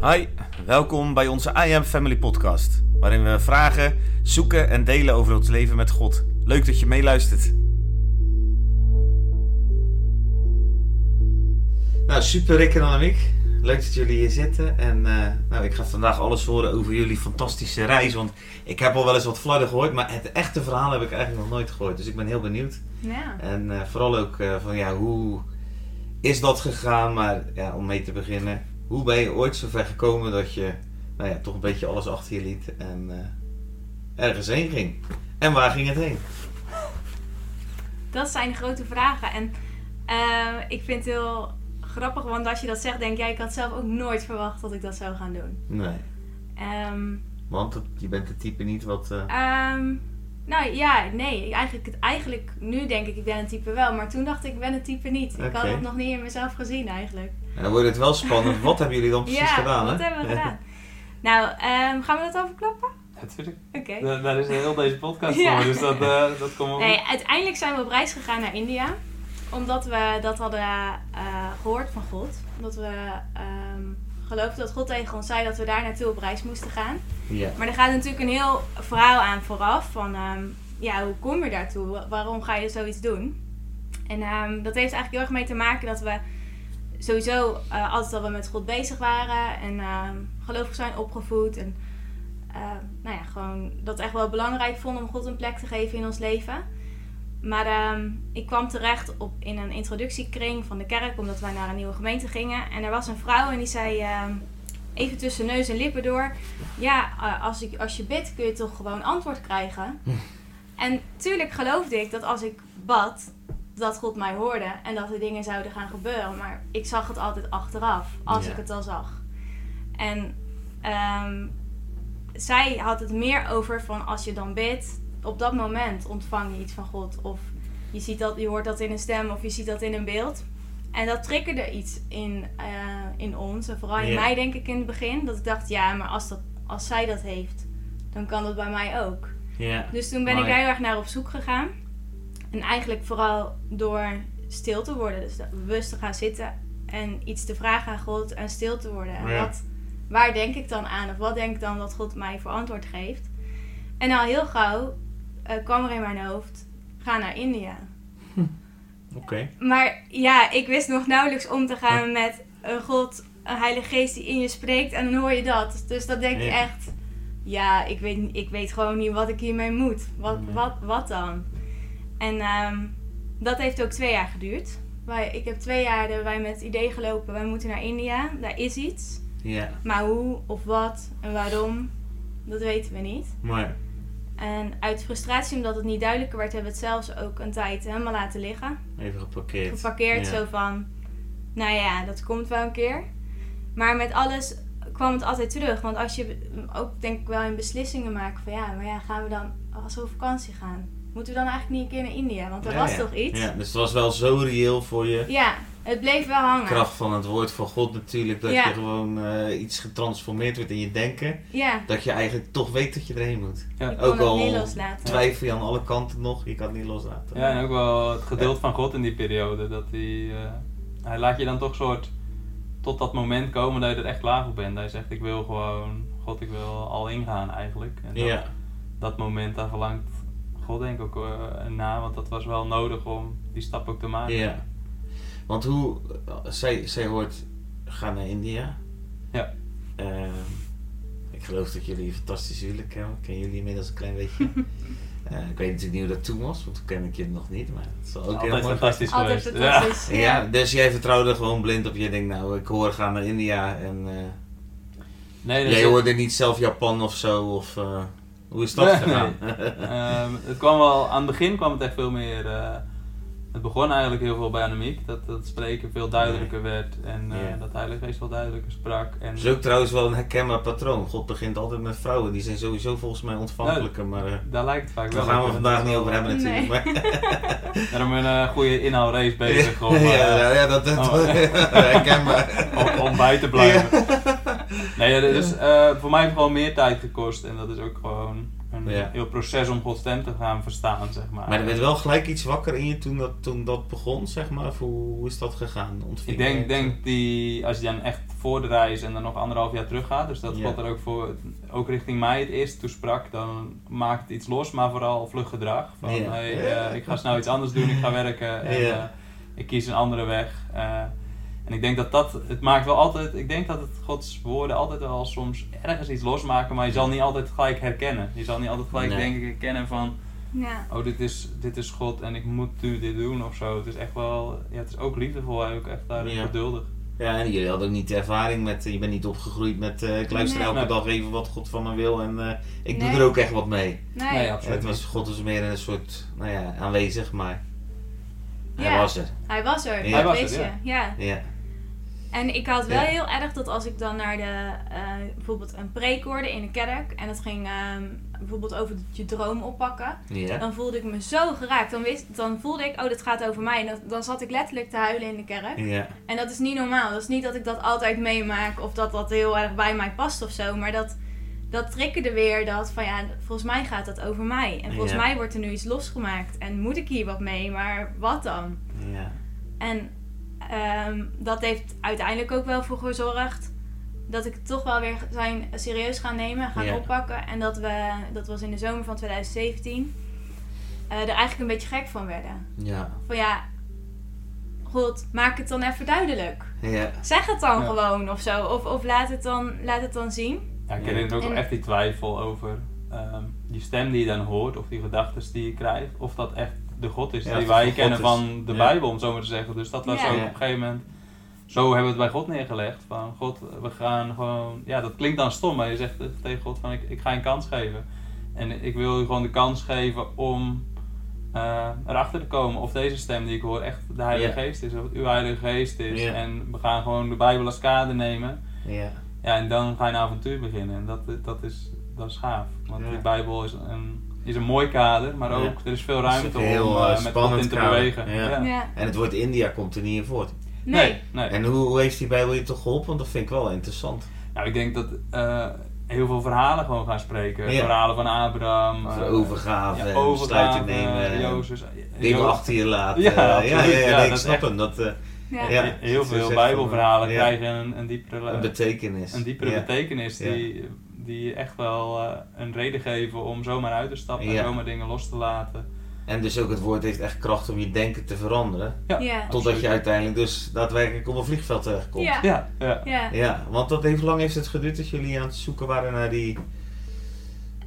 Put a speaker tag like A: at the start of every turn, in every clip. A: Hi, welkom bij onze I Am Family podcast, waarin we vragen, zoeken en delen over ons leven met God. Leuk dat je meeluistert. Nou, super Rick en Annemiek. Leuk dat jullie hier zitten. En eh, nou, ik ga vandaag alles horen over jullie fantastische reis. Want ik heb al wel eens wat fladder gehoord, maar het echte verhaal heb ik eigenlijk nog nooit gehoord. Dus ik ben heel benieuwd.
B: Ja.
A: En eh, vooral ook eh, van ja, hoe is dat gegaan? Maar ja, om mee te beginnen, hoe ben je ooit zover gekomen dat je nou ja, toch een beetje alles achter je liet en eh, ergens heen ging? En waar ging het heen?
B: Dat zijn de grote vragen. En eh, ik vind het heel grappig, want als je dat zegt, denk jij, ik had zelf ook nooit verwacht dat ik dat zou gaan doen.
A: Nee,
B: Ehm,
A: want het- je bent het type niet wat. eh,
B: ehm, nou ja, nee. Eigenlijk, het, eigenlijk nu denk ik, ik ben het type wel. Maar toen dacht ik, ik ben het type niet. Ik had
A: Oké.
B: het nog niet in mezelf gezien eigenlijk.
A: En dan nou, wordt het wel spannend. Wat hebben jullie dan precies
B: ja,
A: gedaan?
B: wat
A: hè?
B: hebben we gedaan? Nou, ehm, gaan we dat overklappen?
C: Natuurlijk.
B: Oké.
C: Da- Daar is heel deze podcast
B: Ja.
C: voor, dus dat, eh, dat komt wel
B: Nee,
C: goed.
B: uiteindelijk zijn we op reis gegaan naar India. Omdat we dat hadden eh, gehoord van God. Omdat we ehm, geloofden dat God tegen ons zei dat we daar naartoe op reis moesten gaan.
A: Ja.
B: Maar er gaat natuurlijk een heel verhaal aan vooraf. Van ehm, ja, hoe kom je daartoe? Wa- Waarom ga je zoiets doen? En ehm, dat heeft eigenlijk heel erg mee te maken dat we sowieso eh, altijd al wel met God bezig waren. En ehm, gelovig zijn opgevoed. En eh, nou ja, gewoon dat echt wel belangrijk vonden om God een plek te geven in ons leven. Maar ehm, ik kwam terecht op, in een introductiekring van de kerk, omdat wij naar een nieuwe gemeente gingen. En er was een vrouw en die zei, ehm, even tussen neus en lippen door, ja, eh, als, ik, als je bidt kun je toch gewoon antwoord krijgen. en tuurlijk geloofde ik dat als ik bad, dat God mij hoorde en dat er dingen zouden gaan gebeuren. Maar ik zag het altijd achteraf, als
A: Ja.
B: ik het al zag. En ehm, zij had het meer over van als je dan bidt, op dat moment ontvang je iets van God. Of je, ziet dat, je hoort dat in een stem of je ziet dat in een beeld. En dat triggerde iets in, eh, in ons. En vooral in
A: Ja.
B: mij denk ik in het begin. Dat ik dacht, ja, maar als, dat, als zij dat heeft, dan kan dat bij mij ook.
A: Ja.
B: Dus toen ben
A: Mooi.
B: ik daar heel erg naar op zoek gegaan. En eigenlijk vooral door stil te worden. Dus dat- bewust te gaan zitten en iets te vragen aan God en stil te worden. En
A: Ja.
B: wat, waar denk ik dan aan? Of wat denk ik dan dat God mij voor antwoord geeft? En al heel gauw eh, kwam er in mijn hoofd, ga naar India.
A: Oké.
B: Maar ja, ik wist nog nauwelijks om te gaan met een God, een heilige geest die in je spreekt en dan hoor je dat. Dus dat denk ik
A: Ja.
B: echt, ja, ik weet, ik weet gewoon niet wat ik hiermee moet. Wat,
A: Nee.
B: wat, wat dan? En ehm, dat heeft ook twee jaar geduurd. Wij, ik heb twee jaar hebben wij met het idee gelopen, wij moeten naar India, daar is iets.
A: Ja,
B: Maar hoe of wat en waarom, dat weten we niet.
A: maar.
B: En uit frustratie omdat het niet duidelijker werd, hebben we het zelfs ook een tijd helemaal laten liggen
A: Even geparkeerd.
B: geparkeerd.
A: Ja.
B: Zo van, nou ja, dat komt wel een keer. Maar met alles kwam het altijd terug. Want als je ook denk ik wel in beslissingen maakt van ja, maar ja, gaan we dan als we op vakantie gaan? Moeten we dan eigenlijk niet een keer naar India? Want er
A: Ja,
B: was
A: ja.
B: toch iets?
A: Ja, dus het was wel zo reëel voor je.
B: Ja, het bleef wel hangen.
A: kracht van het woord van God natuurlijk, dat
B: Ja.
A: je gewoon eh, iets getransformeerd wordt in je denken,
B: Ja,
A: dat je eigenlijk toch weet dat je erheen moet.
B: ik
C: Ja.
B: kon
A: Ook
B: het
A: al
B: niet loslaten.
A: Twijfel je aan alle kanten nog, je kan het niet loslaten.
C: ja, en ook wel het geduld van God in die periode. Dat hij, eh, hij laat je dan toch soort tot dat moment komen dat je er echt klaar voor bent. Hij zegt, ik wil gewoon, God, ik wil al ingaan eigenlijk. En dat,
A: Ja,
C: dat moment, daar verlangt God denk ik ook eh, na, want dat was wel nodig om die stap ook te maken.
A: ja. Want hoe, eh, zij, zij hoort, ga naar India.
C: Ja.
A: Ehm, ik geloof dat jullie een fantastisch huwelijk hebben. Ik ken jullie inmiddels een klein beetje. Eh, ik weet natuurlijk niet hoe dat toen was, want toen ken ik je nog niet, maar het zal ook heel
C: Altijd
A: mooi
C: fantastisch
B: Altijd
C: geweest. Ja.
B: fantastisch. Ja.
A: Ja, dus jij vertrouwde gewoon blind op. Jij denkt, nou, ik hoor, ga naar India. En eh,
C: Nee, dat
A: jij
C: is-
A: hoorde niet zelf Japan of zo. Of, eh, hoe is dat
C: Nee,
A: gegaan?
C: Ehm, het kwam wel, aan het begin kwam het echt veel meer. eh, het begon eigenlijk heel veel bij Annemiek. Dat dat spreken veel duidelijker werd en eh,
A: Ja.
C: dat de Heilige Geest veel duidelijker sprak. En,
A: Dat is ook trouwens wel een herkenbaar patroon. God begint altijd met vrouwen. Die zijn sowieso volgens mij ontvankelijker. Maar eh
C: daar lijkt het vaak
A: daar
C: wel
A: gaan
C: op.
A: we vandaag niet over hebben natuurlijk. maar-
C: Daarom een eh, goede inhoudrace bezig om, eh,
A: ja, ja, dat, dat
C: oh.
A: herkenbaar.
C: om, om bij te blijven. Nee, ja, dus, eh, voor mij heeft het gewoon meer tijd gekost en dat is ook gewoon een en
A: Ja.
C: heel proces om Gods stem te gaan verstaan, zeg maar.
A: Maar er werd wel gelijk iets wakker in je toen dat, toen dat begon, zeg maar. Of hoe, hoe is dat gegaan? Ontving
C: Ik
A: je
C: denk,
A: het?
C: denk die, als je dan echt voor de reis en dan nog anderhalf jaar terug gaat, dus dat
A: Ja.
C: God er ook voor, ook richting mij het eerst toesprak, dan maakt het iets los, maar vooral vlug gedrag. Van,
A: Ja.
C: hey, eh, ik ga snel iets anders doen, ik ga werken en
A: Ja.
C: eh, ik kies een andere weg. Eh, en ik denk dat dat, het maakt wel altijd, ik denk dat het Gods woorden altijd wel soms ergens iets losmaken, maar je zal niet altijd gelijk herkennen. Je zal niet altijd gelijk
A: Nee.
C: denk ik herkennen van,
B: Ja.
C: oh, dit is, dit is God en ik moet nu dit doen of zo. Het is echt wel, ja, het is ook liefdevol en ook echt daar
A: Ja.
C: geduldig.
A: Ja, en jullie hadden ook niet de ervaring met... eh, Je bent niet opgegroeid met... eh, ik luister
B: Nee.
A: elke
C: Nee.
A: dag even wat God van me wil en eh, ik
B: Nee.
A: doe er ook echt wat mee.
B: Nee.
C: Nee,
A: Ja,
C: absoluut.
A: het was, God was meer een soort, nou ja, aanwezig, maar hij
B: Ja.
A: was er.
B: Hij was er,
A: Ja.
B: dat
A: Hij
C: was
B: weet
C: er,
B: je.
C: ja.
B: ja.
A: Ja.
B: En ik had wel
A: Ja.
B: heel erg dat als ik dan naar de, eh, bijvoorbeeld een preek hoorde in de kerk. En dat ging ehm, bijvoorbeeld over je droom oppakken.
A: Ja.
B: Dan voelde ik me zo geraakt. Dan, wist, dan voelde ik, oh, dit gaat over mij. En dat, dan zat ik letterlijk te huilen in de kerk.
A: Ja.
B: En dat is niet normaal. Dat is niet dat ik dat altijd meemaak of dat dat heel erg bij mij past of zo. Maar dat, dat triggerde weer dat van ja, volgens mij gaat dat over mij. En volgens
A: Ja.
B: mij wordt er nu iets losgemaakt. En moet ik hier wat mee, maar wat dan?
A: Ja.
B: En ehm, dat heeft uiteindelijk ook wel voor gezorgd dat ik het toch wel weer zijn eh, serieus gaan nemen, gaan
A: Ja.
B: oppakken. En dat we, dat was in de zomer van 2017, eh, er eigenlijk een beetje gek van werden.
A: Ja.
B: Van ja, god, maak het dan even duidelijk.
A: Ja.
B: Zeg het dan
C: Ja.
B: gewoon of zo. Of, of laat, het dan, laat het dan zien.
C: Ja, ik
A: Ja.
C: herinner ook wel
B: En-
C: echt die twijfel over ehm, die stem die je dan hoort of die gedachten die je krijgt, of dat echt de God is
A: Ja,
C: die
A: of
C: wij
A: God
C: kennen
A: is.
C: van de
A: Ja.
C: Bijbel, om zo maar te zeggen. Dus dat was
B: Ja.
C: ook
A: Ja.
C: op een gegeven moment, zo hebben we het bij God neergelegd. Van God, we gaan gewoon, ja, dat klinkt dan stom, maar je zegt tegen God van ik, ik ga je een kans geven. En ik wil je gewoon de kans geven om eh, erachter te komen of deze stem die ik hoor echt de Heilige
A: Ja.
C: Geest is, of het uw Heilige Geest is.
A: Ja.
C: En we gaan gewoon de Bijbel als kader nemen.
A: Ja.
C: Ja, en dan ga je een avontuur beginnen. En dat, dat, is, dat is gaaf. Want
A: Ja.
C: de Bijbel is een, is een mooi kader, maar ook
A: Ja.
C: er is veel
A: is
C: ruimte
A: een heel,
C: om
A: eh,
C: eh, met God
A: spannend
C: in te
A: kader.
C: bewegen.
A: Ja.
B: Ja.
A: En het woord India komt er niet in voort.
B: Nee.
C: Nee, nee.
A: En hoe, hoe heeft die Bijbel je toch geholpen? Want dat vind ik wel interessant.
C: Nou, ik denk dat eh, heel veel verhalen gewoon gaan spreken.
A: Ja.
C: Verhalen van Abraham.
A: Over
C: eh,
A: overgave
C: ja,
A: en
C: overgave, eh,
A: besluiten nemen. en
C: Jozef.
A: Dingen
C: Jo-
A: achter je laten.
C: Ja,
A: Eh, ja, ja,
C: absoluut.
A: ja,
C: Ja,
A: nee, ik
C: dat is
A: snap
C: echt-
A: hem. Dat eh,
B: Ja.
A: Ja. Dus
C: Heel
A: dat is
C: veel
A: echt
C: Bijbelverhalen
A: gewoon, ja.
C: krijgen een, een diepere...
A: een betekenis.
C: eh, een diepere
A: ja.
C: betekenis
A: Ja.
C: die, die echt wel eh, een reden geven om zomaar uit te stappen
A: Ja.
C: en zomaar dingen los te laten.
A: En dus ook het woord heeft echt kracht om je denken te veranderen.
C: Ja,
B: Ja.
A: Totdat je
C: absoluut.
A: uiteindelijk dus daadwerkelijk op een vliegveld terechtkomt.
B: Ja.
C: Ja, ja.
B: Ja.
A: Ja, want dat heeft, hoe lang heeft het geduurd dat jullie aan het zoeken waren naar die...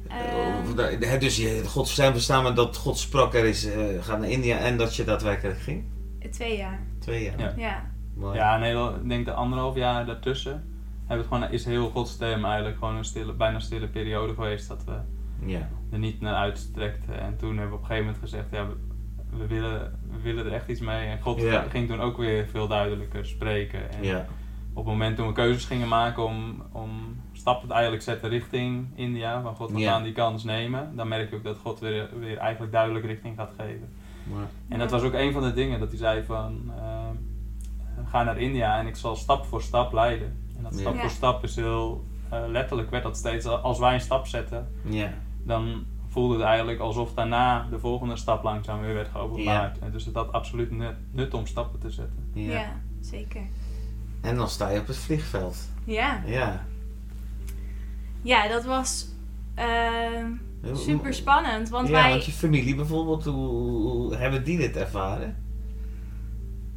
B: Ehm,
A: of daar- hè, dus je Gods stem verstaan, maar dat God sprak er is, eh, gaat naar India en dat je daadwerkelijk ging?
B: twee jaar.
A: Twee jaar.
C: Ja.
B: Ja.
A: Mooi.
C: Ja, een heel, ik denk de anderhalf jaar daartussen hebben het gewoon, is heel godstem eigenlijk gewoon een stille, bijna een stille periode geweest dat we
A: Ja.
C: er niet naar uitstrekten. En toen hebben we op een gegeven moment gezegd, ja, we, we willen, we willen er echt iets mee. En God
A: Ja.
C: ging toen ook weer veel duidelijker spreken. En
A: Ja.
C: op het moment toen we keuzes gingen maken om, om stappen eigenlijk zetten richting India, van God, we
A: Ja.
C: gaan die kans nemen, dan merk je ook dat God weer, weer eigenlijk duidelijk richting gaat geven.
A: Maar,
C: En dat was ook een van de dingen, dat hij zei van, ehm, ga naar India en ik zal stap voor stap leiden. En dat
A: Ja.
C: stap
B: Ja.
C: voor stap is heel, eh, letterlijk werd dat steeds, als wij een stap zetten,
A: ja.
C: dan voelde het eigenlijk alsof daarna de volgende stap langzaam weer werd geopenbaard. En dus het had absoluut nut, nut om stappen te zetten.
A: Ja.
B: ja, zeker.
A: En dan sta je op het vliegveld.
B: Ja.
A: Ja.
B: Ja, dat was ehm,
A: Hoe-
B: super spannend. Want
A: Eh, ja,
B: wij.
A: want je familie bijvoorbeeld, hoe, hoe hebben die dit ervaren?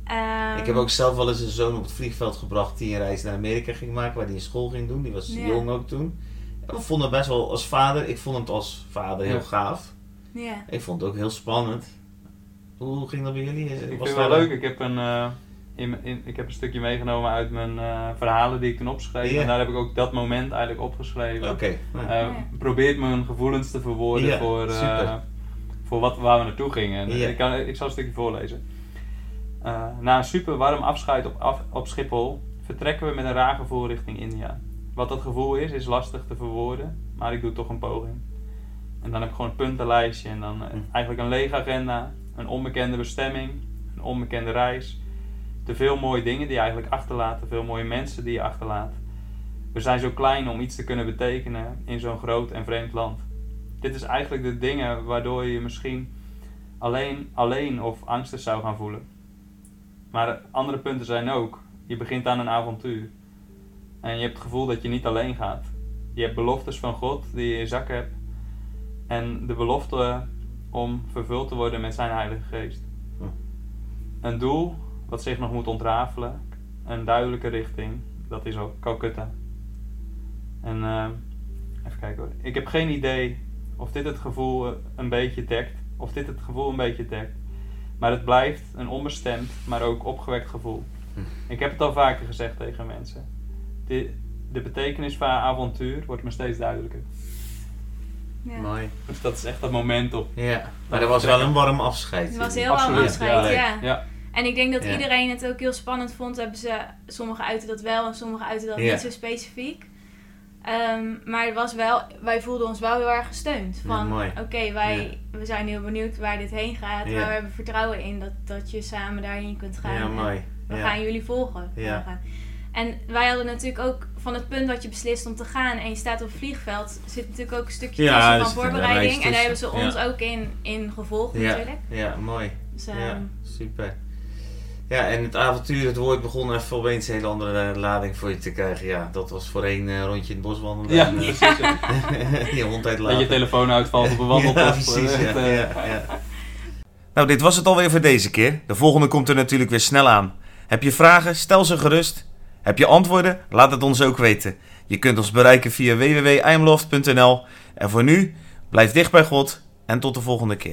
B: ehm,
A: Ik heb ook zelf wel eens een zoon op het vliegveld gebracht die een reis naar Amerika ging maken, waar hij een school ging doen. Die was
B: Ja.
A: jong ook toen. En we vonden het best wel als vader, ik vond het als vader heel
C: Ja.
A: gaaf.
B: Ja.
A: Ik vond het ook heel spannend. Hoe ging dat bij jullie? Was
C: ik vind het
A: daar
C: wel leuk. Ik heb, een, eh, in, mijn- in- ik heb een stukje meegenomen uit mijn eh, verhalen die ik toen opschreef.
A: Ja.
C: En daar heb ik ook dat moment eigenlijk opgeschreven.
A: Oké. nou,
C: Eh, probeert mijn gevoelens te verwoorden
A: Ja,
C: voor, eh,
A: super.
C: voor wat, waar we naartoe gingen. En
A: Ja.
C: Ik, kan, ik zal een stukje voorlezen. Eh, na een super warm afscheid op, af- op Schiphol vertrekken we met een raar gevoel richting India. Wat dat gevoel is, is lastig te verwoorden, maar ik doe toch een poging. En dan heb ik gewoon een puntenlijstje en dan eh,
A: Hm.
C: eigenlijk een lege agenda, een onbekende bestemming, een onbekende reis. Te veel mooie dingen die je eigenlijk achterlaat, te veel mooie mensen die je achterlaat. We zijn zo klein om iets te kunnen betekenen in zo'n groot en vreemd land. dit is eigenlijk de dingen waardoor je je misschien alleen, alleen of angstig zou gaan voelen. Maar andere punten zijn ook, je begint aan een avontuur. En je hebt het gevoel dat je niet alleen gaat. Je hebt beloftes van God die je in je zak hebt. En de belofte om vervuld te worden met zijn Heilige Geest.
A: Hm.
C: Een doel wat zich nog moet ontrafelen. Een duidelijke richting. Dat is ook Calcutta. En ehm, even kijken hoor. Ik heb geen idee of dit het gevoel eh, een beetje dekt. Of dit het gevoel een beetje dekt. Maar het blijft een onbestemd, maar ook opgewekt gevoel.
A: Hm.
C: Ik heb het al vaker gezegd tegen mensen. De, de betekenis van haar avontuur wordt me steeds duidelijker.
B: Ja.
A: Mooi.
C: Dus dat is echt dat moment op.
A: Ja, maar dat was wel een warm afscheid.
B: Het was heel
A: natuurlijk.
B: warm
C: Absoluut,
B: afscheid,
A: ja.
B: ja.
C: Ja,
B: En ik denk dat
A: Ja.
B: iedereen het ook heel spannend vond. Hebben ze, sommigen uiten dat wel en sommigen uiten dat
A: Ja.
B: niet zo specifiek. Ehm, maar het was wel, wij voelden ons wel heel erg gesteund.
A: Ja,
B: Van
A: mooi.
B: oké, wij we zijn heel benieuwd waar dit heen gaat.
A: Ja.
B: Maar we hebben vertrouwen in dat, dat je samen daarheen kunt gaan.
A: Ja,
B: En
A: mooi.
B: We
A: Ja.
B: gaan jullie volgen.
A: Ja.
B: En wij hadden natuurlijk ook van het punt dat je beslist om te gaan en je staat op het vliegveld, zit natuurlijk ook een stukje
A: Ja,
B: tussen
A: er
B: van
A: zit een
B: voorbereiding.
A: reis
B: En daar hebben ze
A: tussen,
B: ons
A: ja.
B: ook in, in gevolgd
A: Ja,
B: natuurlijk.
A: ja, mooi.
B: Dus,
A: Ja,
B: ehm,
A: super. Ja, en het avontuur, het woord begon even opeens een hele andere eh, lading voor je te krijgen. Ja, dat was voorheen een rondje in het bos wandelen.
C: ja
A: en, eh,
C: precies. ja.
A: je hond uitlaten.
C: Dat je telefoon uitvalt op een wandeltocht. Echt, eh,
A: Nou, dit was het alweer voor deze keer. De volgende komt er natuurlijk weer snel aan. Heb je vragen? Stel ze gerust. Heb je antwoorden? Laat het ons ook weten. Je kunt ons bereiken via www.imloft.nl. En voor nu, blijf dicht bij God en tot de volgende keer.